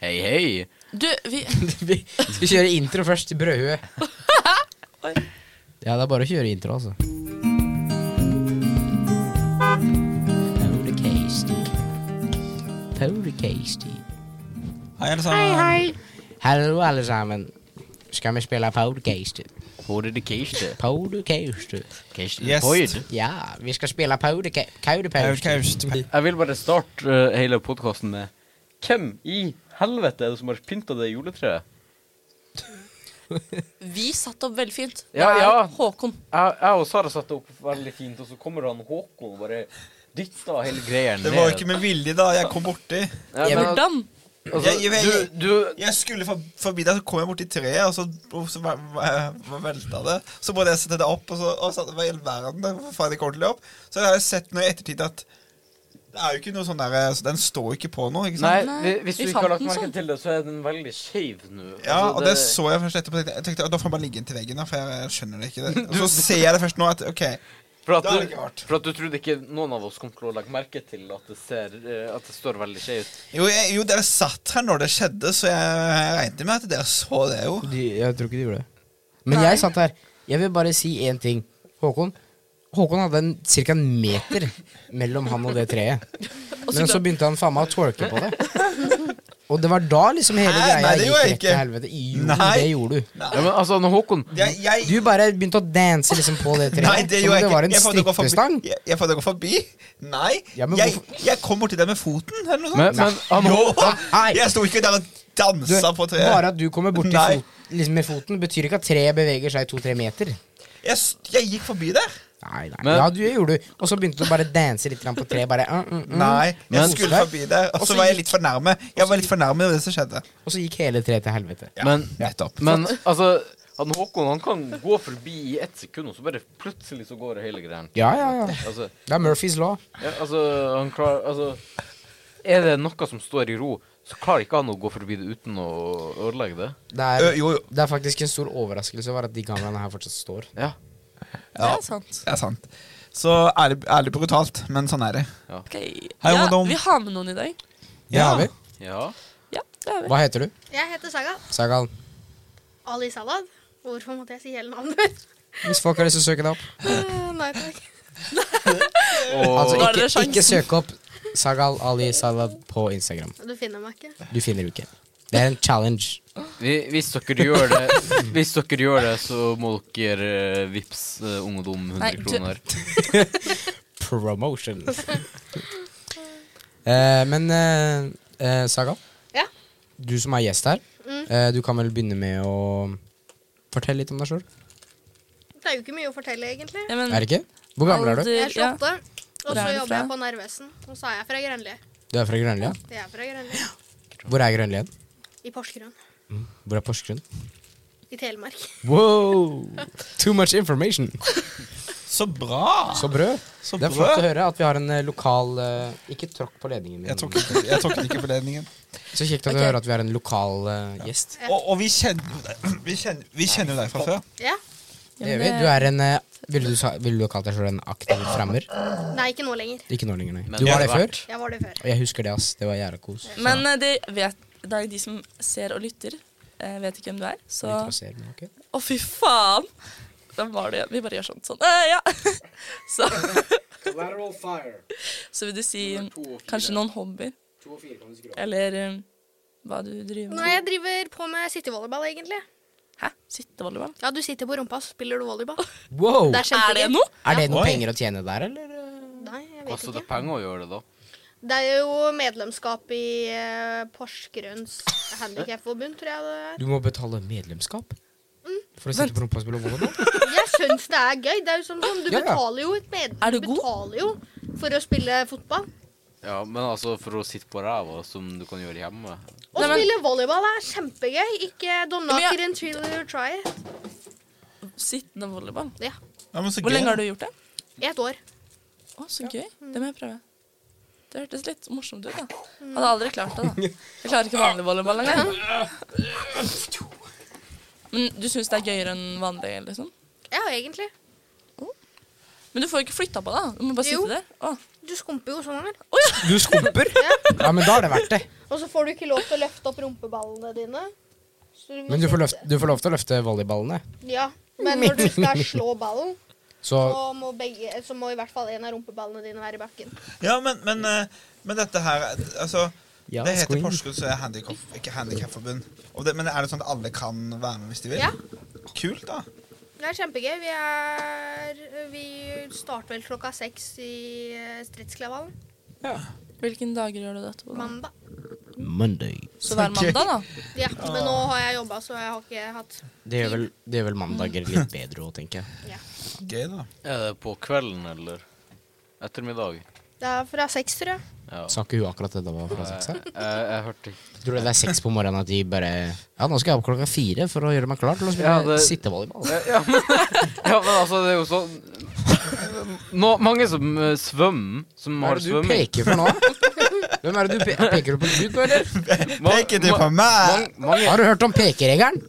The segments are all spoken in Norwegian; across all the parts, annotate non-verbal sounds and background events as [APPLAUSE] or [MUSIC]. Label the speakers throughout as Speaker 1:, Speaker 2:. Speaker 1: Hei, hei.
Speaker 2: Du, vi
Speaker 3: [LAUGHS] Vi skal kjøre intro først til Brødhue.
Speaker 2: [LAUGHS] Oi.
Speaker 3: Ja, det er bare å kjøre intro, altså.
Speaker 4: Hei, alle sammen.
Speaker 3: Hallo, alle sammen. Skal vi spille podcast?
Speaker 1: Hvor er det Keiste?
Speaker 3: Podcast.
Speaker 1: Keiste
Speaker 4: Yes.
Speaker 1: Boyd.
Speaker 3: Ja, vi skal spille podca-
Speaker 4: Podcast.
Speaker 3: podcast.
Speaker 1: Jeg vil bare starte eh, hele podkasten med Hvem i helvete er det som har pynta det juletreet?
Speaker 2: Vi satt opp veldig fint. Det
Speaker 1: Ja,
Speaker 2: er
Speaker 1: ja.
Speaker 2: Håkon.
Speaker 1: Jeg, jeg og Sara satte opp veldig fint, og så kommer han Håkon og bare dytta hele greia ned.
Speaker 4: Det var jo ikke med vilje, da. Jeg kom borti.
Speaker 1: ja, men,
Speaker 2: Hvordan?
Speaker 1: altså,
Speaker 4: Jeg- jeg-
Speaker 1: du, du,
Speaker 4: Jeg skulle for, forbi deg, så kom jeg borti treet, og så, og så var- var- var- velta det. Så måtte jeg sette det opp, og så og så, hva i all verden, det faen ikke ordentlig opp. Så jeg har sett nå i ettertid at det er jo ikke noe sånn der, så Den står jo ikke på noe, ikke
Speaker 1: nei,
Speaker 4: sant?
Speaker 2: Nei,
Speaker 1: vi- hvis du
Speaker 2: vi
Speaker 1: ikke har
Speaker 2: fant
Speaker 1: lagt
Speaker 2: den
Speaker 1: merke
Speaker 2: sånn.
Speaker 1: til det, så er den veldig skeiv nå.
Speaker 4: Ja,
Speaker 1: Altså,
Speaker 4: og det så jeg først etterpå. tenkte Jeg Jeg tenkte, Da får jeg bare ligge inntil veggen, da, for jeg
Speaker 1: [LAUGHS]
Speaker 4: skjønner det ikke. Det. Og så ser jeg det først nå, at OK,
Speaker 1: for at
Speaker 4: da er det
Speaker 1: du,
Speaker 4: ikke rart.
Speaker 1: for at du trodde ikke noen av oss kom til å legge merke til at det, ser, eh, at det står veldig skjevt.
Speaker 4: Jo, jeg, jo, dere satt her når det skjedde, så jeg, jeg regnet med at dere så det, jo.
Speaker 3: De, jeg tror ikke de gjorde det. Men jeg satt her. Jeg vil bare si én ting. Håkon Håkon hadde en, cirka en meter mellom han og det treet. Men så begynte han faen meg å twerke på det. Og det var da liksom hele
Speaker 4: Hæ?
Speaker 3: greia
Speaker 4: Nei, det
Speaker 3: gikk
Speaker 4: gjorde
Speaker 3: rett til
Speaker 4: jeg ikke.
Speaker 3: helvete. Jo,
Speaker 4: Nei.
Speaker 3: det gjorde du.
Speaker 1: Ja, men altså, når Håkon
Speaker 4: Jeg, jeg,
Speaker 3: Du bare begynte å danse liksom på det treet.
Speaker 4: Nei, det
Speaker 3: som om
Speaker 4: gjorde jeg
Speaker 3: det
Speaker 4: ikke.
Speaker 3: var en
Speaker 4: Jeg får det gå forbi-
Speaker 3: strippestang.
Speaker 4: Jeg, jeg får det gå forbi. Nei.
Speaker 3: Ja, men
Speaker 4: jeg,
Speaker 3: hvorfor-
Speaker 4: jeg kom borti det med foten, eller noe
Speaker 1: Men,
Speaker 4: sånt.
Speaker 1: men han,
Speaker 4: jo!
Speaker 3: [LAUGHS] Nei.
Speaker 4: Jeg sto ikke der og
Speaker 3: Du,
Speaker 4: dansa på treet.
Speaker 3: bare at du kommer borti
Speaker 4: Nei.
Speaker 3: fot, liksom med foten, betyr ikke at treet beveger seg to-tre meter.
Speaker 4: Jeg, s- jeg gikk forbi der.
Speaker 3: Nei, nei.
Speaker 1: Men-
Speaker 3: ja, du gjorde du. Og så begynte du bare å danse litt grann på treet. Bare, mm, mm, mm.
Speaker 4: Nei, jeg
Speaker 1: Men-
Speaker 4: skulle forbi der, og
Speaker 3: Og så
Speaker 4: så var jeg
Speaker 3: gikk-
Speaker 4: litt for nærme. Jeg var litt for nærme det som skjedde.
Speaker 3: Og så gikk hele treet til helvete.
Speaker 4: Ja,
Speaker 1: Men-
Speaker 4: nettopp.
Speaker 1: Men altså, han Håkon han kan gå forbi i ett sekund, og så bare plutselig så går det hele greia.
Speaker 3: Ja, ja, ja.
Speaker 1: Altså,
Speaker 3: Det er Murphys law.
Speaker 1: ja, altså, han klarer Altså, er det noe som står i ro, så klarer ikke han å gå forbi det uten å ødelegge det.
Speaker 3: Det
Speaker 4: Ø,
Speaker 3: er,
Speaker 4: jo, jo.
Speaker 3: det er faktisk en stor overraskelse over at de kameraene her fortsatt står.
Speaker 1: Ja.
Speaker 2: Det er sant.
Speaker 4: Det er sant. Så ærlig, ærlig brutalt, men sånn er det.
Speaker 2: Ok.
Speaker 4: Hei,
Speaker 2: Ja,
Speaker 4: ungdom.
Speaker 2: vi har med noen i dag.
Speaker 3: Det har vi.
Speaker 1: Ja.
Speaker 2: Ja, det har vi.
Speaker 3: Hva heter du?
Speaker 5: Jeg heter Saga.
Speaker 3: Sagal.
Speaker 5: Ali Salad. Hvorfor måtte jeg si hele navnet?
Speaker 2: [LAUGHS]
Speaker 3: Hvis folk har lyst til å søke deg opp.
Speaker 5: Eh, [LAUGHS] Nei takk.
Speaker 1: Og
Speaker 3: Altså,
Speaker 2: Nå er det
Speaker 3: ikke,
Speaker 2: sjansen.
Speaker 3: ikke søk opp Sagal Ali Salad på Instagram.
Speaker 5: Du finner meg ikke.
Speaker 3: Du finner det ikke. Det er en challenge.
Speaker 1: vi, hvis dere gjør det, Hvis dere gjør det så må dere eh, vips uh, ungdom
Speaker 2: Nei,
Speaker 1: 100
Speaker 2: du-
Speaker 1: kroner.
Speaker 3: Promotion. [LAUGHS] Eh, men eh, eh, Sagal,
Speaker 5: Ja.
Speaker 3: du som er gjest her,
Speaker 5: Mm.
Speaker 3: eh, du kan vel begynne med å fortelle litt om deg sjøl?
Speaker 5: Det er jo ikke mye å fortelle, egentlig.
Speaker 2: Ja, men,
Speaker 3: Er det ikke? Hvor gammel er du?
Speaker 5: Jeg er 28, og
Speaker 2: Hvor
Speaker 5: så
Speaker 2: er du
Speaker 5: jobber
Speaker 2: fra?
Speaker 5: jeg på Narvesen. Og så er jeg fra Grønli.
Speaker 3: Du er fra Grønlia?
Speaker 5: Jeg er fra Grønli.
Speaker 3: Hvor er Grønlia?
Speaker 5: I Porsgrunn.
Speaker 3: Hvor er Porsgrunn?
Speaker 5: I Telemark.
Speaker 3: Wow! Too much information.
Speaker 4: Så bra!
Speaker 3: Så brød.
Speaker 4: Så
Speaker 3: Det er flott å
Speaker 4: bra.
Speaker 3: høre at vi har en eh, lokal eh, Ikke tråkk på ledningen min.
Speaker 4: Jeg tok ikke, jeg tok ikke på ledningen.
Speaker 3: Så kjekt at du
Speaker 2: Ok.
Speaker 3: hører at vi har en lokal eh, gjest.
Speaker 4: Og, og vi kjenner jo deg- vi kjenner- vi kjenner jo deg fra før.
Speaker 5: Ja.
Speaker 3: Det
Speaker 2: Ja, men
Speaker 3: gjør vi.
Speaker 2: det-
Speaker 3: Du er en eh, Ville du, sa- ville du kalt deg selv en aktiv fremmer?
Speaker 5: Nei, ikke nå lenger.
Speaker 3: Ikke nå lenger, nei.
Speaker 1: Men
Speaker 3: Du var
Speaker 1: det
Speaker 3: det
Speaker 1: har
Speaker 3: før?
Speaker 5: Jeg var det før.
Speaker 3: Og jeg husker det, ass. Det var jævla kos. Så-
Speaker 2: Men eh, det vet det er jo de som ser og lytter, eh, vet ikke hvem du er. Så
Speaker 3: Litt
Speaker 2: Å,
Speaker 3: rasert, men ok.
Speaker 2: fy faen! Hvem var det? Vi bare gjør sånn. Sånn. Eh, ja. [LAUGHS] så, [LAUGHS] så vil du si kanskje noen hobbyer? Eller eh, hva du driver
Speaker 5: Nei,
Speaker 2: med?
Speaker 5: jeg driver på med sittevolleyball, egentlig.
Speaker 2: Hæ? Sittevolleyball?
Speaker 5: Ja, du sitter på rumpa, så spiller du volleyball.
Speaker 3: Wow!
Speaker 5: Det er
Speaker 2: Er det
Speaker 5: kjempegøy.
Speaker 2: noe?
Speaker 3: Er det noen
Speaker 4: Oi.
Speaker 3: penger å tjene der, eller? eh?
Speaker 5: Nei, jeg vet
Speaker 1: Koster Altså, det
Speaker 5: ikke.
Speaker 1: penger å gjøre det, da?
Speaker 5: Det er jo medlemskap i eh, Porsgrunns handikapforbund, tror jeg det er.
Speaker 3: Du må betale medlemskap?
Speaker 2: Mm.
Speaker 3: For å sitte på rumpa og spille volleyball?
Speaker 5: Jeg syns det er gøy. Det er jo sånn, som du
Speaker 3: Ja, ja.
Speaker 5: betaler jo et med...
Speaker 2: Er du
Speaker 5: du
Speaker 2: god?
Speaker 5: betaler jo for å spille fotball.
Speaker 1: Ja, men altså, for å sitte på ræva, som du kan gjøre hjemme
Speaker 5: Å
Speaker 2: Nei, men-
Speaker 5: spille volleyball er kjempegøy. Ikke don't knock
Speaker 2: Ja, men
Speaker 5: it until you try it.
Speaker 2: Sittende volleyball?
Speaker 5: Ja.
Speaker 4: Ja, men så
Speaker 2: Hvor lenge
Speaker 4: gøy.
Speaker 2: har du gjort det?
Speaker 5: I et år.
Speaker 2: Å, så gøy. Det må jeg prøve. Det hørtes litt morsomt ut, da. Hadde aldri klart det, da. Jeg klarer ikke vanlig volleyball engang. Men du syns det er gøyere enn vanlig, liksom?
Speaker 5: Ja, egentlig.
Speaker 2: Men du får jo ikke flytta på deg. da. Du må bare
Speaker 5: Jo.
Speaker 2: sitte der. Å.
Speaker 5: Du skumper jo sånn her.
Speaker 3: Du
Speaker 2: [LAUGHS]
Speaker 3: skumper? Ja, men da er det verdt det.
Speaker 5: Og så får du ikke lov til å løfte opp rumpeballene dine. Så må
Speaker 3: Men du får, løft,
Speaker 5: sitte-
Speaker 3: du får lov til å løfte volleyballene.
Speaker 5: Ja,
Speaker 2: [LAUGHS]
Speaker 5: men når du skal slå ballen,
Speaker 3: Så
Speaker 5: så må, begge, så må i hvert fall en av rumpeballene dine være i bakken.
Speaker 4: Ja, men, men, eh, men dette her Altså,
Speaker 3: Ja,
Speaker 4: det heter
Speaker 3: swing.
Speaker 4: Porsgrunn så er handicap, ikke handikapforbund. Men er det sånn at alle kan være med hvis de vil?
Speaker 5: Ja.
Speaker 4: Kult, da.
Speaker 5: Det er kjempegøy. Vi, er, vi starter vel klokka seks i eh, Stridsklevallen.
Speaker 2: Hvilken dager gjør du dette på? da?
Speaker 5: Mandag.
Speaker 3: Monday.
Speaker 2: Så hver
Speaker 4: gøy.
Speaker 2: mandag, da.
Speaker 5: Ja, men nå har jeg jobba, så jeg har ikke hatt
Speaker 3: Det gjør vel, det gjør vel mandager litt bedre òg, tenker jeg.
Speaker 4: Gøy, da.
Speaker 1: Er det på kvelden eller ettermiddag?
Speaker 5: Det er fra seks, tror jeg.
Speaker 1: Ja.
Speaker 3: Sa ikke hun akkurat det da var fra seks
Speaker 1: Jeg,
Speaker 3: her?
Speaker 1: jeg, Eh, jeg hørte ikke
Speaker 3: Tror du det er seks på morgenen at de bare Ja, nå skal jeg opp klokka fire for å gjøre meg klar til å spille
Speaker 1: Ja, det-
Speaker 3: sittevolleyball.
Speaker 1: Ja, [LAUGHS] ja, men, ja, men altså, det er jo sånn Nå, Mange som eh, svømmer, som
Speaker 3: Hva
Speaker 1: har
Speaker 3: er det du
Speaker 1: svømming
Speaker 3: peker for nå? Hvem er det du pe peker du på Gud, eller?
Speaker 1: Ma-
Speaker 4: Peker du
Speaker 1: ma-
Speaker 4: på meg?
Speaker 1: mang- mange,
Speaker 3: Har du hørt om pekeregelen?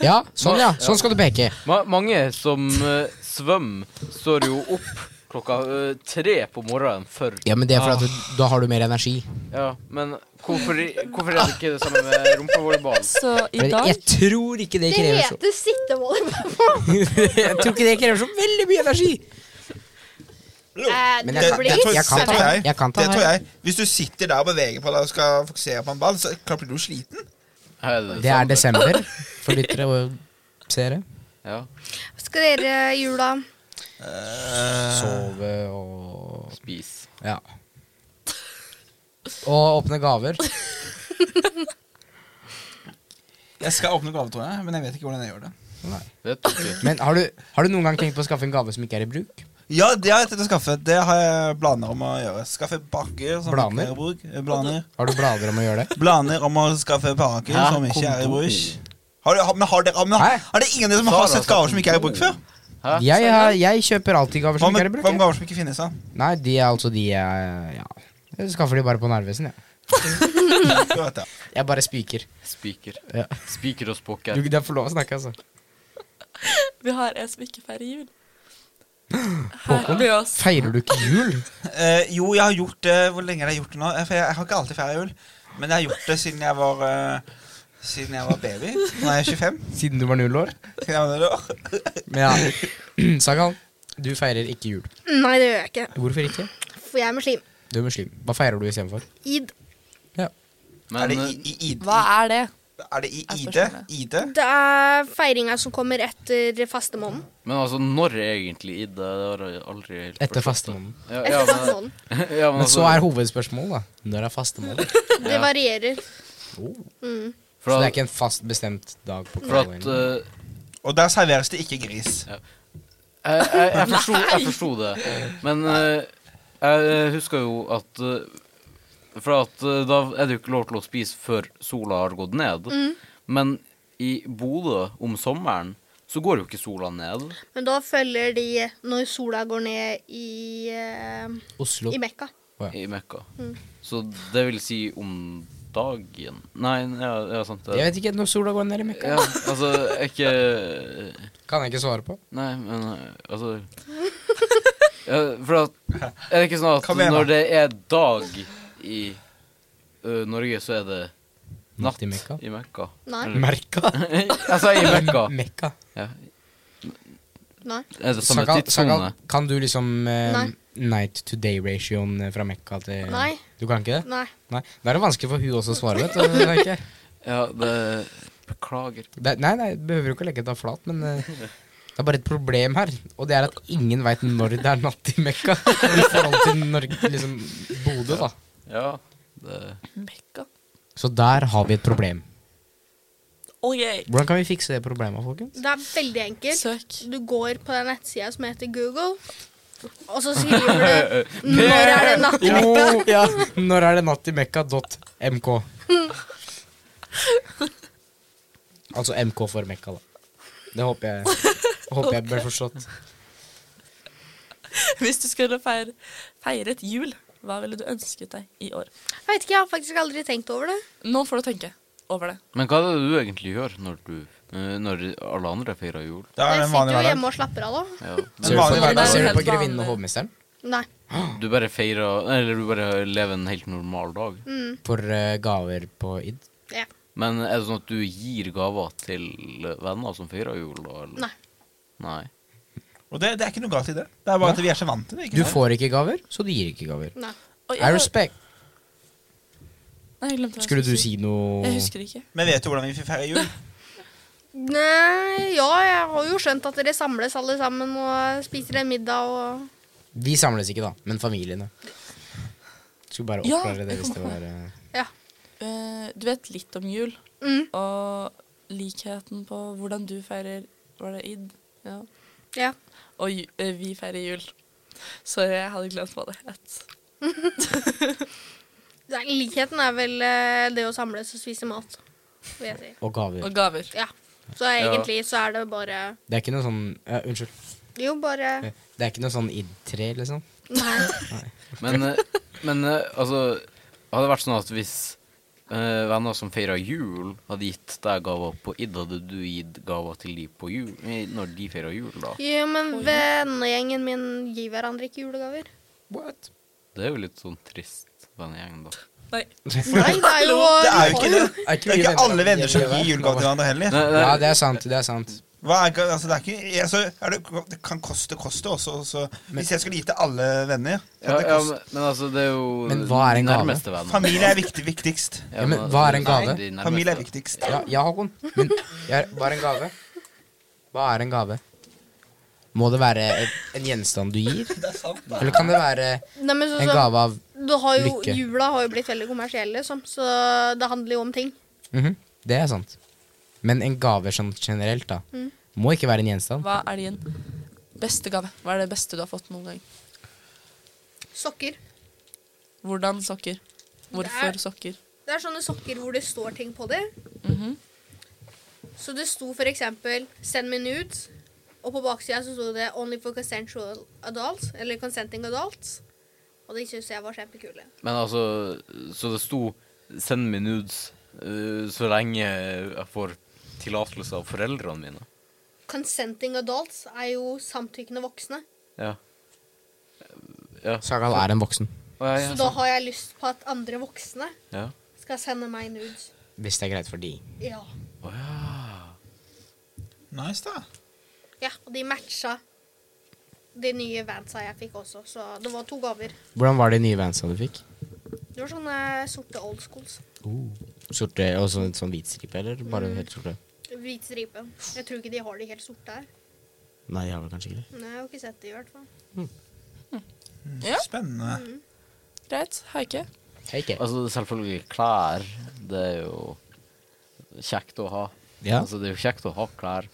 Speaker 3: Ja, sånn ja. Sånn skal du peke.
Speaker 1: ma, mange som eh, svømmer, står jo opp klokka eh, tre på morgenen for
Speaker 3: Ja, men det er for at du, da har du mer energi.
Speaker 1: Ja, men hvorfor, hvorfor er det ikke det samme med rumpevolleyball?
Speaker 2: Så i
Speaker 3: Men
Speaker 2: dag
Speaker 3: jeg tror ikke det
Speaker 5: Det
Speaker 3: krever så [LAUGHS]
Speaker 5: heter [LAUGHS] sittevolleyball.
Speaker 3: Jeg tror ikke det krever så veldig mye energi.
Speaker 5: Eh,
Speaker 3: Men
Speaker 5: du
Speaker 3: jeg kan-
Speaker 5: blir sånn.
Speaker 3: jeg- jeg kan
Speaker 5: svett.
Speaker 3: ta- jeg kan ta
Speaker 4: det
Speaker 3: her.
Speaker 4: tror jeg. Hvis du sitter der og beveger på deg og skal fokusere på en ball, så klart blir du sliten.
Speaker 3: Det er desember [LAUGHS] for lyttere og seere.
Speaker 1: Ja.
Speaker 5: Skal dere i jula
Speaker 3: Eh. Sove og
Speaker 1: Spis.
Speaker 3: Ja. Og åpne gaver.
Speaker 4: Jeg skal åpne gave, tror jeg, men jeg vet ikke hvordan jeg gjør det.
Speaker 1: Vet du ikke.
Speaker 3: Men har du, har du noen gang tenkt på å skaffe en gave som ikke er i bruk?
Speaker 4: Ja, det har jeg tenkt å skaffe. Det har jeg planer om å gjøre. Skaffe pakker som
Speaker 3: Blaner?
Speaker 4: ikke er i bruk. Eh, Blaner.
Speaker 3: Har du blader om å gjøre det?
Speaker 4: Planer om å skaffe pakker
Speaker 1: Hæ?
Speaker 4: som ikke er i
Speaker 1: Kondom?
Speaker 4: bruk. Har, du- har, men har, dere,
Speaker 3: Hæ?
Speaker 4: men har, er det ingen av dere som
Speaker 1: Sara
Speaker 4: har sett
Speaker 1: sa
Speaker 4: gaver som ikke er i bruk før?
Speaker 1: Hæ?
Speaker 3: Jeg, har- jeg kjøper alltid gaver
Speaker 4: Hva
Speaker 3: som ikke
Speaker 4: med,
Speaker 3: er i bruk.
Speaker 4: hva med
Speaker 3: jeg.
Speaker 4: gaver som ikke finnes? da?
Speaker 3: Nei, de er altså de jeg Ja. Jeg skaffer de bare på Narvesen, jeg.
Speaker 4: Du vet det.
Speaker 3: Jeg bare spiker.
Speaker 1: Spiker.
Speaker 3: Ja.
Speaker 1: Spiker og
Speaker 3: Du,
Speaker 1: spokker.
Speaker 3: det er for lov å snakke, altså.
Speaker 2: Vi har en som ikke feirer jul. Her blir oss.
Speaker 3: Feirer du ikke jul?
Speaker 4: Eh, jo, jeg har gjort det Hvor lenge har jeg gjort det nå? Eh, For jeg, jeg har ikke alltid feira jul. Men jeg har gjort det siden jeg var eh, Siden jeg var baby. Nå er jeg 25.
Speaker 3: Siden du var null år?
Speaker 4: Siden jeg var null år.
Speaker 3: Men ja. [CLEARS THROAT] Sagal, du feirer ikke jul.
Speaker 5: Nei, det gjør jeg ikke.
Speaker 3: Hvorfor ikke?
Speaker 5: For jeg er muslim.
Speaker 3: Du er muslim. Hva feirer du istedenfor?
Speaker 5: Id.
Speaker 4: Er
Speaker 1: Men
Speaker 4: det
Speaker 1: eh,
Speaker 4: i, i, i,
Speaker 2: Hva er det?
Speaker 4: er det i
Speaker 2: Jeg
Speaker 4: ID?
Speaker 2: forstår det.
Speaker 4: ID?
Speaker 5: Det er feiringa som kommer etter fastemånden.
Speaker 1: Men altså, når er egentlig id? Det har jeg aldri helt
Speaker 3: Etter
Speaker 1: forstått.
Speaker 3: fastemåneden.
Speaker 1: Ja, ja,
Speaker 5: Etter
Speaker 1: men, [LAUGHS]
Speaker 5: fastemånden.
Speaker 1: ja, men
Speaker 3: Men så
Speaker 1: altså,
Speaker 3: er hovedspørsmålet, da. Når er fastemåned?
Speaker 5: Det varierer.
Speaker 1: [LAUGHS] for
Speaker 3: Så det er
Speaker 1: at-
Speaker 3: ikke en fast bestemt dag på
Speaker 1: For at
Speaker 3: kalenderen?
Speaker 1: eh,
Speaker 4: Og der serveres det ikke gris.
Speaker 1: Jeg, jeg, jeg, forsto, jeg forsto det. Men eh, jeg husker jo at eh, For at eh, da er det jo ikke lov til å spise før sola har gått ned. Men i Bodø om sommeren så går jo ikke sola ned.
Speaker 5: Men da følger de når sola går ned i, eh,
Speaker 3: Oslo.
Speaker 5: i Mekka.
Speaker 1: i Mekka. Så det vil si om dagen Nei, ja, ja sant
Speaker 3: Jeg
Speaker 1: det.
Speaker 3: vet ikke når sola går ned i Mekka.
Speaker 1: Ja, altså, jeg ikke
Speaker 3: Kan jeg ikke svare på.
Speaker 1: Nei, men eh, altså [LAUGHS] ja, For at Er det ikke sånn at
Speaker 4: Hva mener
Speaker 1: når
Speaker 4: du?
Speaker 1: det er dag i ø, Norge, så er det natt
Speaker 3: Natt i Mekka?
Speaker 1: I Mekka. [LAUGHS]
Speaker 3: [LAUGHS]
Speaker 5: Nei.
Speaker 3: Merka?
Speaker 1: jeg sa i Mekka.
Speaker 3: [LAUGHS] Mekka.
Speaker 1: Ja.
Speaker 5: Nei.
Speaker 1: Er det samme
Speaker 3: Sagal, Sagal,
Speaker 1: tidssone?
Speaker 3: kan du liksom eh,
Speaker 5: Nei.
Speaker 3: night to day-ratioen eh, fra Mekka til
Speaker 5: Nei.
Speaker 3: Du kan ikke det?
Speaker 5: Nei.
Speaker 3: Nei. Da er det vanskelig for hun også å svare, vet du. [LAUGHS] tenker jeg.
Speaker 1: Ja, det Beklager.
Speaker 3: Det, nei, nei, behøver jo ikke å legge deg flat, men eh, det er bare et problem her. Og det er at ingen veit når det er natt i Mekka. [LAUGHS] I forhold til Norge, liksom Bodø, da.
Speaker 1: Ja, det
Speaker 2: Mekka.
Speaker 3: Så der har vi et problem.
Speaker 2: Ok.
Speaker 3: Hvordan kan vi fikse det problemet, folkens?
Speaker 5: Det er veldig enkelt.
Speaker 2: Søk.
Speaker 5: Du går på den nettsida som heter Google, og så [LAUGHS] skriver du 'Når er det natt?'
Speaker 3: Oh, [LAUGHS] ja. Når er det natt i Mekka.mk? Altså MK for Mekka, da. Det håper jeg, håper jeg blir forstått.
Speaker 2: Hvis du skulle feire, feire et jul, hva ville du ønsket deg i år?
Speaker 5: Jeg vet ikke, jeg har faktisk aldri tenkt over det.
Speaker 2: Nå får du tenke. over det.
Speaker 1: Men hva er det du egentlig gjør når, du, eh, når alle andre feirer jul?
Speaker 4: Det er
Speaker 5: Jeg
Speaker 4: en vanlig
Speaker 5: sitter jo
Speaker 4: hverdag.
Speaker 5: hjemme og slapper av, da.
Speaker 1: Ja.
Speaker 3: Ser du på,
Speaker 4: vanlig hverdag.
Speaker 3: ser du på
Speaker 2: Helt
Speaker 3: grevinnen og
Speaker 2: vanlig.
Speaker 3: hovmesteren?
Speaker 5: Nei.
Speaker 1: Du bare feirer Eller du bare lever en helt normal dag.
Speaker 5: Mm.
Speaker 3: For eh, gaver på id?
Speaker 5: Ja.
Speaker 1: Men er det sånn at du gir gaver til venner som feirer jul, da? Eller?
Speaker 5: Nei.
Speaker 1: Nei.
Speaker 4: Og det, det er ikke noe galt i det. Det er bare at vi er så vant til det. ikke
Speaker 3: Du
Speaker 4: sant?
Speaker 3: får ikke gaver, så du gir ikke gaver.
Speaker 5: Nei.
Speaker 2: Og
Speaker 3: I respect.
Speaker 2: Nei, jeg glemte hva jeg
Speaker 3: Skulle du si noe
Speaker 2: Jeg husker ikke.
Speaker 4: Men vet du hvordan vi feirer jul?
Speaker 5: Nei, ja, jeg har jo skjønt at dere samles alle sammen og spiser en middag og
Speaker 3: Vi samles ikke, da, men familiene. Skulle bare
Speaker 2: Ja,
Speaker 3: oppklare det
Speaker 2: jeg
Speaker 3: hvis det
Speaker 2: kom på
Speaker 3: var eh,
Speaker 5: Ja.
Speaker 2: Eh, du vet litt om jul,
Speaker 5: Mm.
Speaker 2: og likheten på hvordan du feirer Var det id? Ja.
Speaker 5: ja.
Speaker 2: Og ju, eh, vi feirer jul. Så jeg hadde glemt hva det het.
Speaker 5: Nei, Likheten er vel eh, det å samles og spise mat, vil jeg si.
Speaker 3: Og gaver.
Speaker 2: Og gaver.
Speaker 5: Ja. Så egentlig så er det bare
Speaker 3: Det er ikke noe sånn ja, Unnskyld.
Speaker 5: Jo, bare
Speaker 3: Det er ikke noe sånn id-tre, liksom?
Speaker 5: Nei.
Speaker 1: Men, eh, men eh, altså Hadde det vært sånn at hvis eh, venner som feirer jul, hadde gitt deg gaver på id, hadde du gitt gaver til de på jul eh, når de feirer jul, da?
Speaker 5: Jo, men vennegjengen min gir hverandre
Speaker 4: [LAUGHS]
Speaker 5: ikke julegaver.
Speaker 3: What?
Speaker 1: Det er jo litt sånn trist vennegjeng, da.
Speaker 2: Nei.
Speaker 5: Nei, det er jo
Speaker 4: Det er jo ikke det.
Speaker 3: Er ikke,
Speaker 4: Det er
Speaker 3: vi
Speaker 4: ikke alle venner som
Speaker 3: Gjør vi
Speaker 4: gir
Speaker 3: det?
Speaker 4: julegave til hverandre heller.
Speaker 1: Nei,
Speaker 3: Ja,
Speaker 1: nei,
Speaker 3: det er sant. Det er sant.
Speaker 4: Hva er, ga- altså, det, er ikke, altså, er det, det kan koste koste også. også. Hvis jeg skulle gi til alle venner
Speaker 1: ja,
Speaker 4: ja, det
Speaker 1: ja,
Speaker 4: kost,
Speaker 1: men, men altså, det er jo
Speaker 3: Men hva er en gave?
Speaker 1: nærmeste venner.
Speaker 4: Familie er viktig, viktigst.
Speaker 3: Ja, men hva er en
Speaker 1: altså,
Speaker 3: gave?
Speaker 1: de nærmeste.
Speaker 4: Familie er viktigst.
Speaker 3: Ja, ja Håkon. Men jeg, hva er en gave? Hva er en gave? Må det være et, en gjenstand du gir?
Speaker 4: Det er sant, da.
Speaker 3: Eller kan det være
Speaker 5: Nei, men så,
Speaker 3: en
Speaker 5: så,
Speaker 3: gave av
Speaker 5: du har jo,
Speaker 3: Lykke.
Speaker 5: Jula har jo blitt veldig kommersiell, liksom, så det handler jo om ting.
Speaker 3: Mhm, Det er sant. Men en gave sånn generelt, da. Må ikke være en gjenstand.
Speaker 2: Hva er din beste gave? Hva er det beste du har fått noen gang?
Speaker 5: Sokker.
Speaker 2: Hvordan sokker?
Speaker 5: Det
Speaker 2: Hvorfor
Speaker 5: er-
Speaker 2: sokker?
Speaker 5: Det er sånne sokker hvor det står ting på dem.
Speaker 2: Mhm.
Speaker 5: Så det sto for eksempel 'Send me nudes', og på baksida så sto det 'Only for consensual adults', eller 'Consenting adults'. Og det syns jeg var kjempekule.
Speaker 1: Men altså, så det sto 'send me nudes' eh, så lenge jeg får tillatelse av foreldrene mine.
Speaker 5: Consenting adults er jo samtykkende voksne.
Speaker 1: Ja. Ja.
Speaker 3: Sagal er en voksen.
Speaker 1: Å, ja,
Speaker 5: Så
Speaker 1: ja,
Speaker 5: da
Speaker 1: sant.
Speaker 5: har jeg lyst på at andre voksne
Speaker 1: ja.
Speaker 5: skal sende meg nudes.
Speaker 3: Hvis det er greit for de.
Speaker 5: Ja.
Speaker 1: Å, ja.
Speaker 4: Nice, da.
Speaker 5: ja og de matcha de nye vansa jeg fikk også, så det var to gaver.
Speaker 3: Hvordan var de nye vansa du fikk?
Speaker 5: Det var sånne sorte old schools.
Speaker 3: Sorte og sånn, sånn hvit stripe, eller bare helt sorte?
Speaker 5: Hvit stripe. Jeg tror ikke de har de helt sorte her.
Speaker 3: Nei, jeg har vel kanskje ikke det.
Speaker 5: Nei, jeg har ikke sett det i hvert fall.
Speaker 2: Ja.
Speaker 4: Spennende.
Speaker 2: Greit. Haike.
Speaker 3: Hei, Kate.
Speaker 1: Altså, selvfølgelig klær. Det er jo kjekt å ha.
Speaker 3: Ja.
Speaker 1: Altså, det er jo kjekt å ha klær.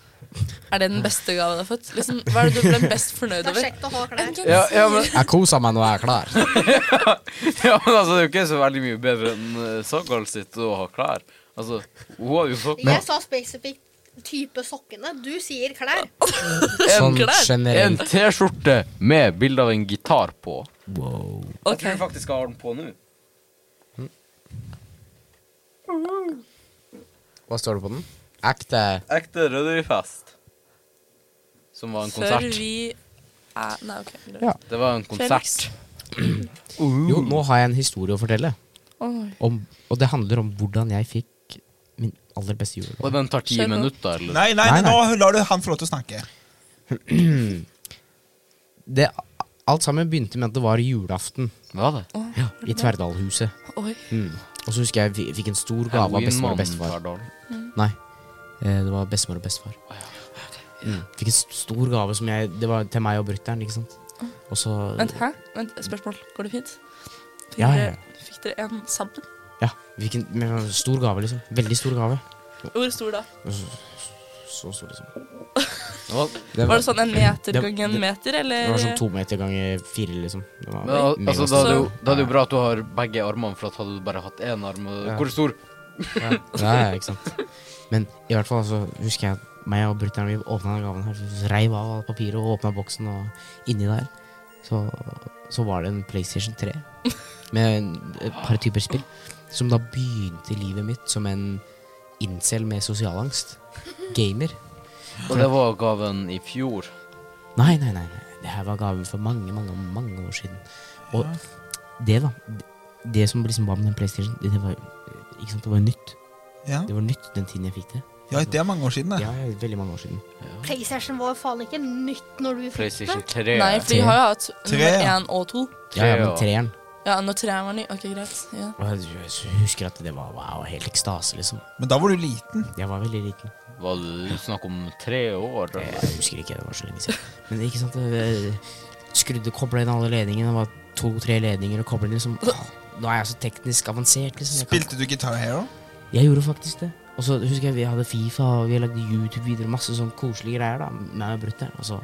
Speaker 2: Er det den beste gaven du har fått? Liksom, hva er det du ble mest fornøyd
Speaker 5: Det er
Speaker 2: over?
Speaker 5: kjekt å ha klær.
Speaker 1: Ja, ja, men,
Speaker 3: Jeg koser meg når jeg er klar.
Speaker 1: [LAUGHS] ja, men altså, det er jo ikke så veldig mye bedre enn eh, Sagal sitt å ha klær. Altså, hun har jo fått
Speaker 5: Jeg sa spesifikt type sokkene. Du sier klær.
Speaker 3: Sånn
Speaker 2: Klær.
Speaker 1: en
Speaker 3: generelt.
Speaker 1: T-skjorte med bilde av en gitar på.
Speaker 3: Wow.
Speaker 2: Ok.
Speaker 1: faktisk jeg har den på nå.
Speaker 3: Hva står det på den? Ekte
Speaker 1: Ekte Rødøyfest. Som var en
Speaker 2: Før
Speaker 1: konsert.
Speaker 2: vi er Nei, OK. greit.
Speaker 3: Ja.
Speaker 1: Det var en konsert.
Speaker 3: Jo, nå har jeg en historie å fortelle.
Speaker 2: Oi.
Speaker 3: Om, og det handler om hvordan jeg fikk min aller beste julegave.
Speaker 1: Og den tar ti
Speaker 2: Kjør på.
Speaker 1: minutter, eller?
Speaker 4: Nei, nei,
Speaker 3: Nei, nei.
Speaker 4: nå lar du han få lov til å snakke.
Speaker 3: Det, alt sammen begynte med at det var julaften
Speaker 1: Hva er det?
Speaker 3: ja, i Tverdalhuset.
Speaker 2: Oi.
Speaker 3: Mm. Og så husker jeg vi fikk en stor gave av bestemor
Speaker 1: Halloween-mannen
Speaker 3: og bestefar.
Speaker 1: Fardal.
Speaker 3: Nei, eh, det var bestemor og bestefar. Mm. Fikk en st- stor gave som jeg Det var til meg og brutter'n, ikke sant. Og så
Speaker 2: Vent, hæ? Vent, spørsmål. Går det fint? Fikk,
Speaker 3: Ja, ja, ja.
Speaker 2: Dere, fikk dere en sammen?
Speaker 3: Ja, vi fikk en men, stor gave, liksom. Veldig stor gave.
Speaker 2: Hvor stor da?
Speaker 3: Så stor, liksom.
Speaker 1: Det var-
Speaker 3: Det
Speaker 2: Var det sånn en meter
Speaker 3: det-
Speaker 2: ganger en
Speaker 3: det-
Speaker 2: meter, eller?
Speaker 3: det var sånn to meter ganger fire, liksom. Det var
Speaker 1: Men, al- altså, da
Speaker 3: megastor.
Speaker 1: er det jo, da er det jo bra at du har begge armene, for at hadde du bare hatt én arm og-
Speaker 3: Ja.
Speaker 1: Hvor stor?
Speaker 3: Ja, ja, ja, ikke sant. Men i hvert fall så husker jeg at meg og brutter'n vi åpna den gaven her. så Reiv av alt papiret og åpna boksen, og inni der så, så var det en PlayStation 3 med en, et par typer spill. Som da begynte livet mitt som en incel med sosialangst. Gamer.
Speaker 1: Og det var gaven i fjor.
Speaker 3: Nei, nei, nei. nei. Det her var gaven for mange, mange mange år siden. Og det, da. det- Det som liksom var med den PlayStation, det, det var ikke sant, det var nytt.
Speaker 4: Ja.
Speaker 3: Det var nytt den tiden jeg fikk det.
Speaker 4: ja, det er mange år siden, det.
Speaker 3: Ja, ja, veldig mange år siden.
Speaker 5: PlayStation var faen ikke nytt når du fikk det.
Speaker 1: PlayStation 3.
Speaker 2: Nei, for de har jo hatt
Speaker 4: Tre,
Speaker 2: nummer
Speaker 4: ja.
Speaker 2: én og to.
Speaker 3: Ja, ja,
Speaker 1: Tre,
Speaker 3: men treeren.
Speaker 2: Ja, når treeren var ny. Ok, greit. Ja.
Speaker 3: Og jeg jeg husker at det var wow, helt ekstase, liksom.
Speaker 4: Men da var du liten.
Speaker 3: Jeg var veldig liten.
Speaker 1: Var det snakk om tre år?
Speaker 3: Jeg husker ikke, det var så lenge siden. Men ikke sant, det- skrudde kobla inn alle ledningene. Det var to-tre ledninger og koblet inn liksom. Nå er jeg så teknisk avansert, liksom. Jeg, kan,
Speaker 4: Spilte du Guitar Hero?
Speaker 3: jeg gjorde faktisk det. Og så husker jeg vi hadde Fifa, og vi lagde YouTube-videoer og masse sånn koselige greier, da, meg og brutter'n. Og så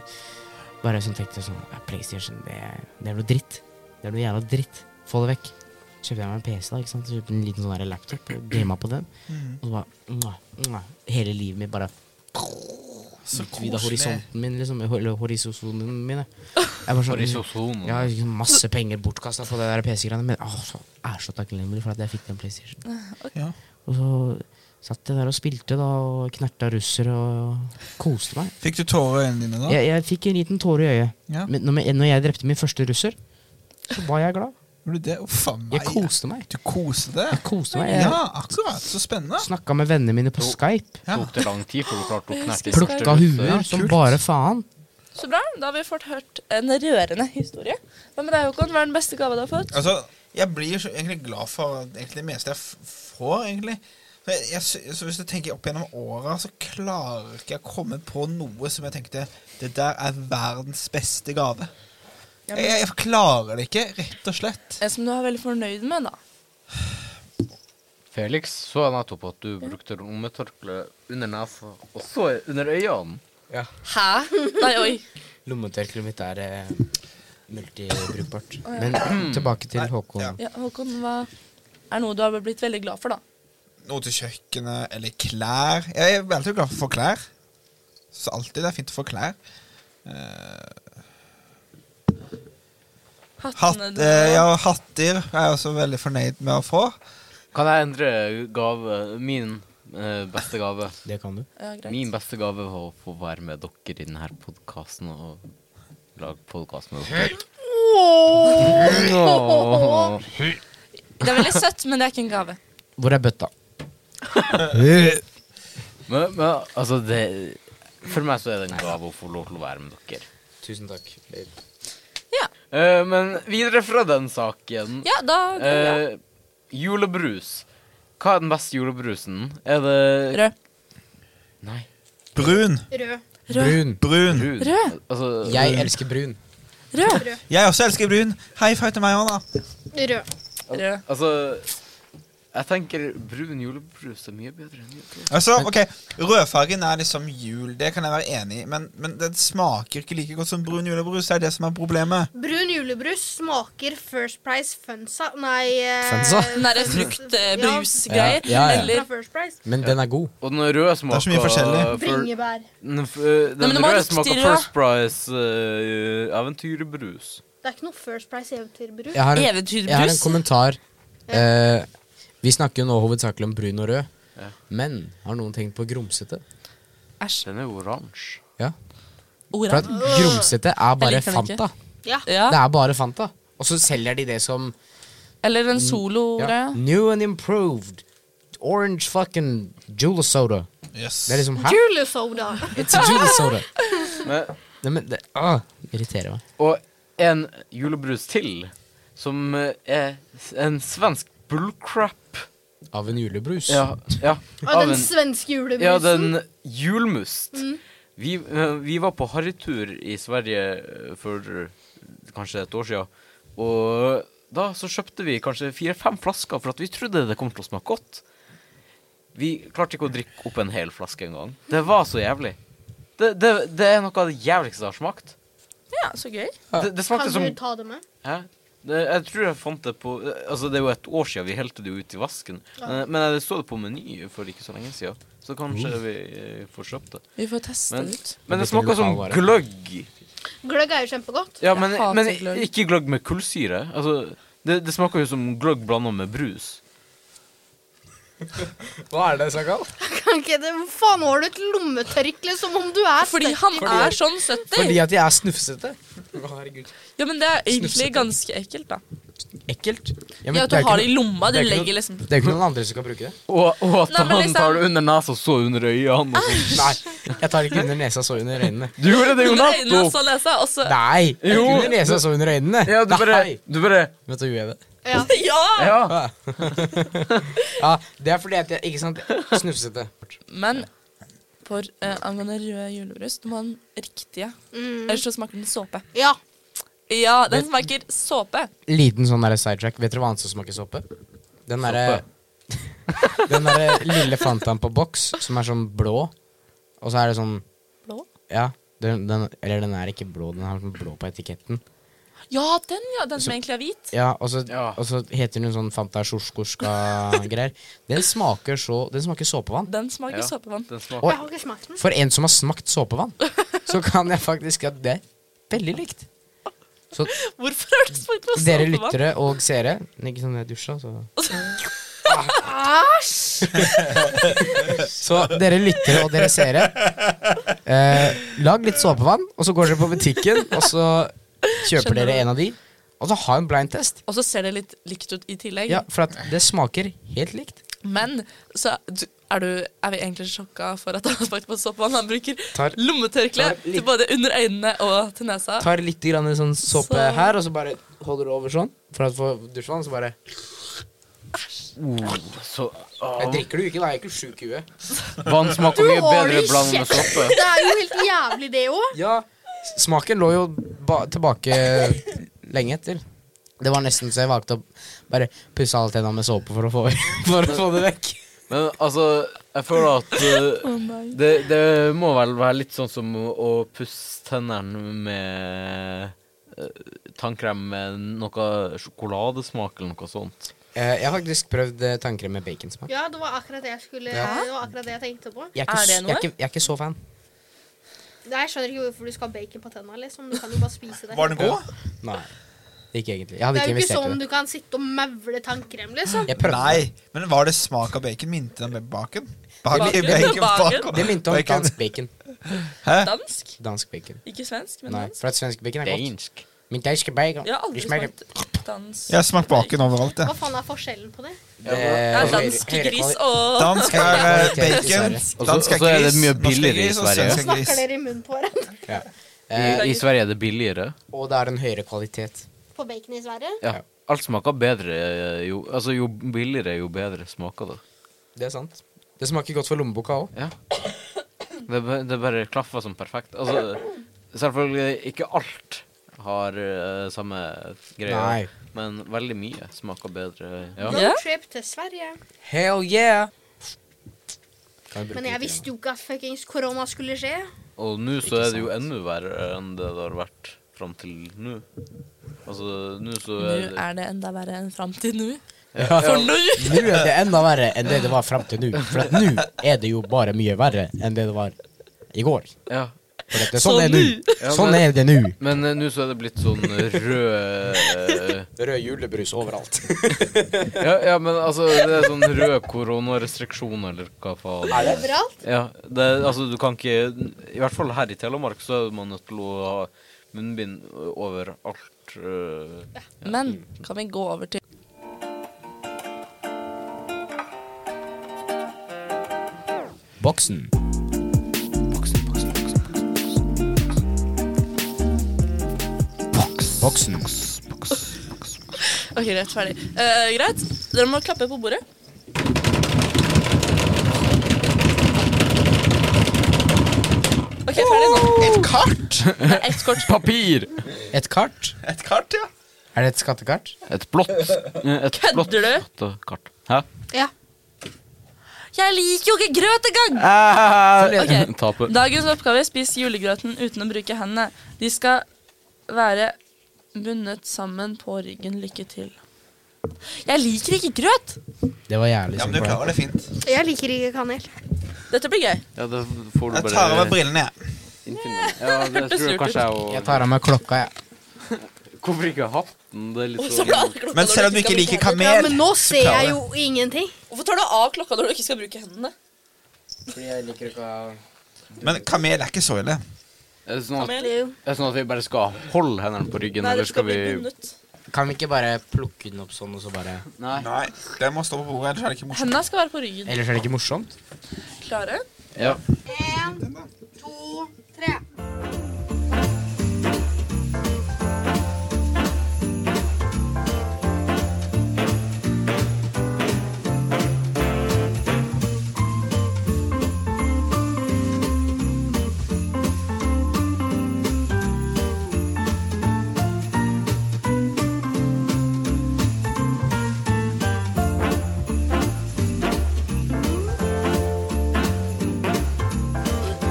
Speaker 3: bare sånn tenkte jeg sånn "Ja, PlayStation, det, er- det er noe dritt. Det er noe jævla dritt. Få det vekk. Kjøpte jeg meg en PC, da, ikke sant. Kjøpte en liten sånn der laptop, og gama på den. Og så bare mwah, mwah, Hele livet mitt bare
Speaker 4: Så
Speaker 3: utvida horisonten min, liksom. Eller horisosonen min. Jeg var sånn,
Speaker 1: Horisosonen.
Speaker 3: jeg har liksom masse penger bortkasta på det der PC-greiene, men åh, så er så takknemlig for at jeg fikk den PlayStation.
Speaker 4: Ja.
Speaker 3: Og så satt jeg der og spilte, da, og knerta russere og koste meg.
Speaker 4: Fikk du tårer i øynene dine da?
Speaker 3: Jeg, jeg fikk en liten tåre i øyet.
Speaker 4: Ja.
Speaker 3: Men når, jeg- når jeg drepte min første russer, så var jeg glad.
Speaker 4: Gjorde du det? Uff a meg.
Speaker 3: Jeg koste meg.
Speaker 4: Du koste deg?
Speaker 3: Jeg koste meg.
Speaker 4: Ja,
Speaker 3: Jeg
Speaker 4: akkurat. Så spennende.
Speaker 3: snakka med vennene mine på
Speaker 1: Jo.
Speaker 3: Skype.
Speaker 4: Ja.
Speaker 1: Tok det lang tid før du klarte å knerte
Speaker 2: Jeg husker
Speaker 3: Plukka huer som
Speaker 4: Kult.
Speaker 3: bare faen.
Speaker 2: Så bra. Da har vi fått hørt en rørende historie. Hva med deg, Håkon? Hva er den beste gava du har fått?
Speaker 4: Altså, jeg blir så egentlig glad for egentlig det meste jeg f- får, egentlig. For Jeg, jeg, sy- så hvis du tenker opp gjennom åra, så klarer ikke jeg å komme på noe som jeg tenkte Det der er verdens beste gave.
Speaker 2: Ja,
Speaker 4: Jeg,
Speaker 2: men-
Speaker 4: jeg klarer det ikke, rett og slett.
Speaker 2: En som du er veldig fornøyd med, da.
Speaker 1: Felix så jeg nettopp at du brukte lommetørkle under nesa og så under øynene.
Speaker 2: Hæ? Nei, oi.
Speaker 3: Lommetørkleet mitt er eh, multibrukbart. Men tilbake til
Speaker 4: [CLEARS THROAT] Nei,
Speaker 3: Håkon.
Speaker 4: ja.
Speaker 2: Ja, Håkon, hva er noe du har blitt veldig glad for, da?
Speaker 4: Noe til kjøkkenet eller klær. Jeg er veldig glad for å få klær. Så alltid det er fint å få klær. Eh, hatt,
Speaker 2: Hattene
Speaker 4: eh, ja, hatter er jeg også veldig fornøyd med å få.
Speaker 1: Kan jeg endre gave Min eh, beste gave?
Speaker 3: Det kan du.
Speaker 2: ja, greit.
Speaker 1: Min beste gave var å få være med dere i denne podkasten og lage podkast med dere. Åh.
Speaker 2: Det er veldig søtt, men det er ikke en gave.
Speaker 3: Hvor er bøtta?
Speaker 1: [LAUGHS] Men, men altså, det For meg så er det en gave å få lov til å være med dere.
Speaker 3: Tusen takk.
Speaker 2: Ja,
Speaker 1: Eh, men videre fra den saken.
Speaker 2: ja da det er bra.
Speaker 1: Eh, julebrus. Hva er den beste julebrusen? Er det
Speaker 2: Rød.
Speaker 1: Nei.
Speaker 4: Brun.
Speaker 5: Rød.
Speaker 2: Rød.
Speaker 3: Brun.
Speaker 4: Brun.
Speaker 1: Brun.
Speaker 2: Rød.
Speaker 1: Altså,
Speaker 3: Jeg elsker brun.
Speaker 2: Rød.
Speaker 4: Jeg også elsker brun. High five til meg òg, da.
Speaker 5: Rød.
Speaker 2: Rød.
Speaker 1: Altså Jeg tenker brun julebrus er mye bedre enn julebrus.
Speaker 4: Altså, ok, Rødfargen er liksom jul, det kan jeg være enig i, men, men den smaker ikke like godt som brun julebrus. Det er det som er problemet.
Speaker 5: Brun julebrus smaker First Price Funsa Nei eh,
Speaker 3: Funsa?
Speaker 2: Den derre fruktbrusgreier.
Speaker 3: Ja, ja, ja.
Speaker 5: Ja,
Speaker 2: eh, Eller
Speaker 5: fra First Price.
Speaker 3: Men den er god.
Speaker 1: Og den røde smaker
Speaker 4: så mye forskjellig.
Speaker 5: Bringebær.
Speaker 1: Den, f- øh, den
Speaker 2: men det må
Speaker 1: røde
Speaker 2: være riktig
Speaker 1: smaker
Speaker 2: rød.
Speaker 1: First Price øh, eventyrbrus.
Speaker 5: Det er ikke noe First Price eventyrbrus.
Speaker 3: Jeg har en, jeg har en
Speaker 2: eventyrbrus.
Speaker 3: kommentar. Eh, vi snakker jo nå hovedsakelig om brun og rød. Men har noen tenkt på grumsete?
Speaker 2: Æsj.
Speaker 1: Den er oransje.
Speaker 3: Ja. For at
Speaker 2: Oransje.
Speaker 3: grumsete er bare
Speaker 2: Jeg liker den ikke.
Speaker 3: Fanta.
Speaker 5: Ja.
Speaker 2: Ja.
Speaker 3: Det er bare Fanta. Og så selger de det som
Speaker 2: Eller en solo-greie.
Speaker 3: ja, new and improved orange fucking jula soda.
Speaker 4: Yes.
Speaker 3: Det er liksom hæ?
Speaker 5: Julesoda.
Speaker 3: It's a jula soda.
Speaker 1: Men,
Speaker 3: Nei, men det ah, irriterer meg.
Speaker 1: og en julebrus til, som øh, er s- en svensk bullcrap.
Speaker 3: Av en julebrus.
Speaker 1: Ja, ja,
Speaker 5: Av den svenske Mm. julebrusen.
Speaker 1: Ja, den julmust. Vi, eh, vi var på harrytur i Sverige eh, for eh, kanskje et år siden. Og da så kjøpte vi kanskje fire-fem flasker, for at vi trodde det kom til å smake godt. Vi klarte ikke å drikke opp en hel flaske engang. Det var så jævlig. Det, det, det er noe av det jævligste jeg har smakt.
Speaker 2: Ja, så gøy.
Speaker 1: Det, det
Speaker 5: Kan
Speaker 1: smakte som
Speaker 5: du ta det med?
Speaker 1: Hæ? Det, jeg tror jeg fant det på Altså, det er jo et år siden vi helte det ut i vasken. Men- Men det så det på Meny for ikke så lenge siden, så kanskje vi eh, får kjøpt det.
Speaker 2: Vi får teste
Speaker 1: Men,
Speaker 2: det ut.
Speaker 1: men det
Speaker 3: Hvilken
Speaker 1: smaker som
Speaker 3: lokalvare?
Speaker 1: gløgg.
Speaker 5: Gløgg er jo [LAUGHS] kjempegodt.
Speaker 1: Ja,
Speaker 2: Jeg
Speaker 1: men,
Speaker 2: hater
Speaker 1: men
Speaker 2: gløgg.
Speaker 1: ikke gløgg med kullsyre. Altså, det, det smaker jo som gløgg blanda med brus.
Speaker 3: Hva er det, Sakal?
Speaker 5: Ok, det, Hvor faen har du et lommetørkle som om du er
Speaker 2: Fordi han
Speaker 3: Fordi-
Speaker 2: er sånn 70.
Speaker 3: Fordi at jeg er snufsete. Å, herregud.
Speaker 2: Ja, men det er egentlig
Speaker 3: Snufsete.
Speaker 2: ganske ekkelt, da.
Speaker 3: Ekkelt. Ja, men
Speaker 2: Ja, at
Speaker 3: det er
Speaker 2: du har det
Speaker 3: ikke
Speaker 2: i lomma.
Speaker 3: det
Speaker 2: Du
Speaker 3: er ikke noe-
Speaker 2: legger liksom
Speaker 3: noe- det er ikke noen andre som kan bruke det.
Speaker 1: Og, og at
Speaker 2: Nei, men
Speaker 1: han
Speaker 2: liksom- Ah!
Speaker 1: tar det under nesa, så under øynene. og sånn.
Speaker 3: Nei, jeg tar det ikke under nesa, så under øynene.
Speaker 1: Du gjorde det jo
Speaker 2: Under øynene og
Speaker 1: nettopp!
Speaker 2: så lese, og så
Speaker 3: Nei!
Speaker 1: Jo.
Speaker 3: Ikke under nesa, så under øynene.
Speaker 1: Ja, du bare,
Speaker 3: Nei.
Speaker 1: du bare
Speaker 3: Vet du, hva jeg gjør det.
Speaker 5: Ja.
Speaker 2: Ja!
Speaker 1: Ja.
Speaker 3: Ah. [LAUGHS] ja, det er fordi at jeg Ikke sant? Snufsete.
Speaker 2: Men for eh, angående rød julebrus, du må ha den riktige.
Speaker 5: Mm.
Speaker 2: Ellers så smaker den såpe.
Speaker 5: ja.
Speaker 2: Ja, den smaker såpe.
Speaker 3: Liten sånn der sidetrack. Vet dere hva annet som smaker såpe? Den derre [LAUGHS] Den derre lille Fantaen på boks, som er sånn blå, og så er det sånn
Speaker 2: Blå?
Speaker 3: Ja. Den, den, eller den er ikke blå, den har sånn blå på etiketten.
Speaker 2: Ja, den, ja. Den som egentlig er hvit.
Speaker 3: Ja, og så,
Speaker 1: Ja.
Speaker 3: Og så heter den sånn Fanta Sjosjkorska-greier. Den smaker så Den smaker såpevann.
Speaker 2: Den smaker
Speaker 1: Ja.
Speaker 2: såpevann. [LAUGHS]
Speaker 1: Den smaker
Speaker 3: Oi.
Speaker 5: Jeg har ikke smakt den.
Speaker 3: For en som har smakt såpevann, så kan jeg faktisk at det er veldig likt. Så
Speaker 2: Hvorfor har du smakt på
Speaker 3: dere
Speaker 2: såpevann?
Speaker 3: lyttere og seere Ikke sånn jeg dusja, så
Speaker 5: Æsj!
Speaker 3: Så dere lyttere og dere seere, eh, lag litt såpevann, og så går dere på butikken, og så kjøper
Speaker 2: Skjønner du?
Speaker 3: dere en av de, og så ha en blind test.
Speaker 2: Og så ser det litt likt ut i tillegg.
Speaker 3: Ja, for at det smaker helt likt.
Speaker 2: Men så er du- er, du, er vi egentlig sjokka for at han har smakt på såpevann. Han bruker
Speaker 3: Tar-
Speaker 2: lommetørkle
Speaker 3: tar litt-
Speaker 2: til både under øynene og til nesa.
Speaker 3: Tar litt grann sånn såpe
Speaker 2: Så-
Speaker 3: her, og så bare holder du over sånn for å få dusjvann, så bare
Speaker 1: oh, så,
Speaker 3: Jeg
Speaker 1: ah,
Speaker 3: drikker det jo ikke, da. Jeg er ikke sjuk i huet.
Speaker 1: Vann
Speaker 5: Du
Speaker 1: smaker mye
Speaker 5: har det
Speaker 1: bedre
Speaker 5: i
Speaker 1: blandet med såpe.
Speaker 5: kjeften! Det er jo helt jævlig, det òg.
Speaker 3: Ja, s- smaken lå jo ba tilbake lenge etter. Det var nesten så jeg valgte å bare pusse alle tennene med såpe for å få, for å få det vekk.
Speaker 1: Men altså, jeg føler at eh,
Speaker 2: Å nei.
Speaker 1: det, det må vel være litt sånn som å å pusse tennene med eh, tannkrem med noe sjokoladesmak eller noe sånt.
Speaker 3: Eh, jeg har faktisk prøvd eh, tannkrem med baconsmak.
Speaker 5: Ja, det var akkurat det jeg skulle
Speaker 3: Ja.
Speaker 5: Det var akkurat det jeg tenkte på.
Speaker 3: Jeg er, ikke,
Speaker 2: Er det
Speaker 3: s- jeg, er
Speaker 2: noe?
Speaker 3: ikke, jeg er ikke så fan.
Speaker 5: Nei, Jeg skjønner ikke hvorfor du skal ha bacon på tenna. Liksom. Du kan jo bare spise det.
Speaker 4: Var den god?
Speaker 3: Nei, ikke egentlig. Jeg hadde
Speaker 5: Det er
Speaker 3: ikke
Speaker 5: jo ikke
Speaker 3: investert
Speaker 5: sånn
Speaker 3: i det.
Speaker 5: du kan sitte og maule tannkrem, liksom.
Speaker 3: Jeg prøvde
Speaker 4: Nei, men var det smak av bacon? Minte den med baken? Baken,
Speaker 2: Baken?
Speaker 4: bacon,
Speaker 2: Baken?
Speaker 3: det. Det minte om
Speaker 4: Bacon.
Speaker 3: dansk bacon.
Speaker 4: Hæ?
Speaker 2: Dansk?
Speaker 3: Dansk bacon.
Speaker 2: Ikke svensk, men
Speaker 3: Nei,
Speaker 2: dansk.
Speaker 3: for at svensk bacon er godt.
Speaker 1: Dansk.
Speaker 3: Min danske bacon.
Speaker 2: Jeg har aldri
Speaker 3: Det smaker-
Speaker 2: smakt dansk.
Speaker 4: Jeg har smakt baken overalt,
Speaker 5: Hva
Speaker 4: jeg.
Speaker 5: faen er forskjellen på det?
Speaker 3: Det
Speaker 2: Det er
Speaker 3: høyere-
Speaker 2: dansk
Speaker 3: høyere
Speaker 2: gris
Speaker 3: Eh, kvali-
Speaker 2: og
Speaker 4: Dansk er eh, bacon,
Speaker 3: Altså,
Speaker 4: dansk er
Speaker 1: så er det
Speaker 4: gris,
Speaker 1: mye
Speaker 4: norsk er
Speaker 1: billigere i
Speaker 4: gris og
Speaker 1: Sverige.
Speaker 4: svensk er
Speaker 5: Snakker
Speaker 4: gris.
Speaker 5: dere i munnen på hverandre?
Speaker 3: Ja.
Speaker 1: I,
Speaker 3: Eh,
Speaker 1: I Sverige er det billigere.
Speaker 3: og det er en høyere kvalitet.
Speaker 5: På bacon i Sverige?
Speaker 1: Ja. Alt smaker bedre eh, jo Altså, jo billigere, jo bedre smaker det.
Speaker 3: Det er sant. Det smaker godt for lommeboka òg.
Speaker 1: Ja. Det, ba- det bare klaffer som perfekt. Altså, selvfølgelig ikke alt har eh, samme greie,
Speaker 3: Nei.
Speaker 1: men veldig mye smaker bedre. Ja.
Speaker 2: Ja.
Speaker 5: Roadtrip til Sverige.
Speaker 3: Hell yeah!
Speaker 5: Men jeg visste jo ikke at fuckings korona skulle skje.
Speaker 1: Og nå så
Speaker 3: Ikke
Speaker 1: er det jo
Speaker 3: sant.
Speaker 1: enda verre enn det det har vært fram til nå. Altså, nå så
Speaker 2: [LAUGHS] Nå
Speaker 1: er det
Speaker 2: er det enda verre enn framtid nå.
Speaker 3: Ja.
Speaker 2: For nå!
Speaker 3: [LAUGHS] Nå er det enda verre enn det det var fram til nå. For at nå er det jo bare mye verre enn det det var i går.
Speaker 1: Ja.
Speaker 3: For at det,
Speaker 2: Så
Speaker 3: sånn er det nå.
Speaker 1: Ja,
Speaker 3: Sånn
Speaker 1: men-
Speaker 3: er det nå.
Speaker 1: Men eh, nå så er det blitt sånn rød eh,
Speaker 3: Rød julebrus [LAUGHS] overalt.
Speaker 1: ja, ja, men altså, det er sånn rød koronarestriksjon, eller hva faen.
Speaker 5: Overalt.
Speaker 1: Ja, det, altså du kan ikke I hvert fall her i Telemark så er man nødt til å ha munnbind overalt. øh.
Speaker 2: Men kan vi gå over til
Speaker 3: Boksen. Boksen.
Speaker 2: OK, greit. Ferdig. Eh, greit. Dere må klappe på bordet. OK, ferdig nå.
Speaker 4: Et kart?
Speaker 2: Det er ett kort.
Speaker 1: Papir!
Speaker 3: Et kart?
Speaker 4: Et kart, ja.
Speaker 3: Er det et skattekart?
Speaker 1: Et blått Et blått
Speaker 2: Kødder du?
Speaker 1: skattekart. Hæ?
Speaker 5: Ja.
Speaker 2: Jeg liker jo ikke grøt engang!
Speaker 1: Ah,
Speaker 2: Ok.
Speaker 1: [LAUGHS] Taper.
Speaker 2: Dagens oppgave er spis julegrøten uten å bruke hendene. De skal være bundet sammen på ryggen. Lykke til. Jeg liker ikke grøt!
Speaker 3: Det var jævlig
Speaker 4: Ja, men du
Speaker 3: sykt.
Speaker 4: klarer det fint.
Speaker 5: Jeg liker ikke kanel.
Speaker 2: Dette blir gøy.
Speaker 1: Ja, det får du
Speaker 4: Jeg
Speaker 1: bare
Speaker 4: tar av meg brillene, jeg.
Speaker 1: innfinne. Ja, det tror jeg kanskje jeg
Speaker 3: Jeg tar av meg klokka, jeg.
Speaker 1: og Hvorfor ikke hatten? Det er litt
Speaker 2: Hvorfor tar du
Speaker 1: sånn
Speaker 2: av klokka
Speaker 4: Men
Speaker 2: når
Speaker 4: selv om du
Speaker 2: skal
Speaker 4: ikke
Speaker 2: bruke
Speaker 4: liker
Speaker 2: hendene?
Speaker 5: Ja,
Speaker 4: kamel
Speaker 5: men nå
Speaker 4: så
Speaker 5: ser
Speaker 4: klarer
Speaker 5: jeg
Speaker 4: du
Speaker 5: jo ingenting.
Speaker 2: Hvorfor tar du av klokka når du ikke skal bruke hendene?
Speaker 3: Fordi jeg liker ikke å ha
Speaker 4: Men kamel er ikke så ille.
Speaker 1: Er det sånn at,
Speaker 2: Kamel?
Speaker 5: Leo.
Speaker 1: er det sånn at vi bare skal holde hendene på ryggen,
Speaker 2: Nei,
Speaker 1: eller
Speaker 2: du skal
Speaker 1: skal vi
Speaker 2: bli bundet.
Speaker 3: Kan vi ikke bare plukke den opp sånn, og så bare
Speaker 1: Nei.
Speaker 4: Nei, den må stå på bordet, ellers er det ikke morsomt.
Speaker 2: Hendene skal være på ryggen.
Speaker 3: Ellers er det ikke morsomt.
Speaker 2: Klare?
Speaker 1: Ja.
Speaker 5: En, to, tre.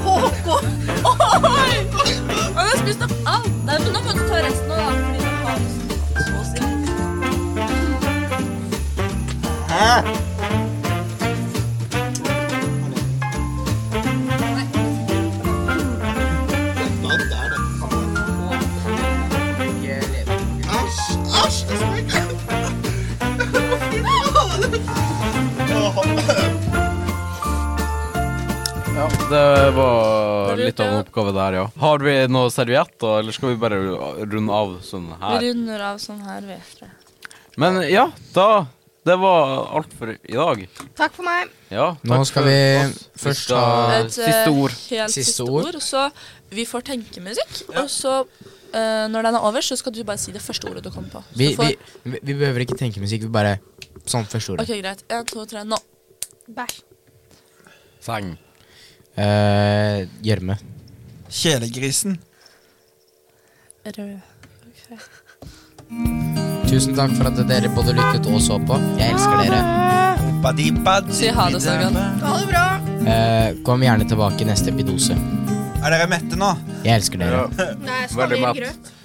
Speaker 2: Håkon! Oi! Han har spist opp alt. Nei, men nå må du ta resten av den. fordi den har så å si.
Speaker 1: ja. Det var
Speaker 2: Det er
Speaker 1: litt av en
Speaker 2: lurt,
Speaker 1: oppgave der, ja. Har vi noen servietter, eller skal vi bare runde av sånn
Speaker 2: Vi
Speaker 1: her?
Speaker 2: runder av sånn her, vet dere.
Speaker 1: Men ja, da Det var alt for i dag.
Speaker 5: Takk for meg.
Speaker 1: Ja.
Speaker 3: Nå
Speaker 1: takk
Speaker 3: skal
Speaker 1: for
Speaker 3: vi
Speaker 1: oss.
Speaker 3: først
Speaker 1: skal-
Speaker 3: ha-
Speaker 2: Et, eh,
Speaker 1: Siste ord.
Speaker 2: Helt
Speaker 3: Siste
Speaker 2: siste,
Speaker 3: ord.
Speaker 2: ord. Så vi får tenkemusikk, og så eh, når den er over, så skal du bare si det første ordet du kommer på. Så
Speaker 3: Vi,
Speaker 2: får,
Speaker 3: vi, vi vi behøver ikke tenke musikk, vi bare Sånn første ordet.
Speaker 2: Ok, greit. En, to, tre, nå.
Speaker 5: Bæsj.
Speaker 1: Seng.
Speaker 3: Eh, Gjørme.
Speaker 4: Kjelegrisen.
Speaker 2: Rød.
Speaker 3: Tusen takk for at dere både lyttet og så på. Jeg elsker dere.
Speaker 2: Si ha det, Sagan.
Speaker 5: Ha det bra.
Speaker 3: Eh, kom gjerne tilbake i neste epidose.
Speaker 4: Er dere mette nå?
Speaker 3: Jeg elsker dere.
Speaker 1: Ja.
Speaker 5: Nei,
Speaker 1: Veldig
Speaker 5: jeg skal ha
Speaker 1: matt.
Speaker 5: grøt.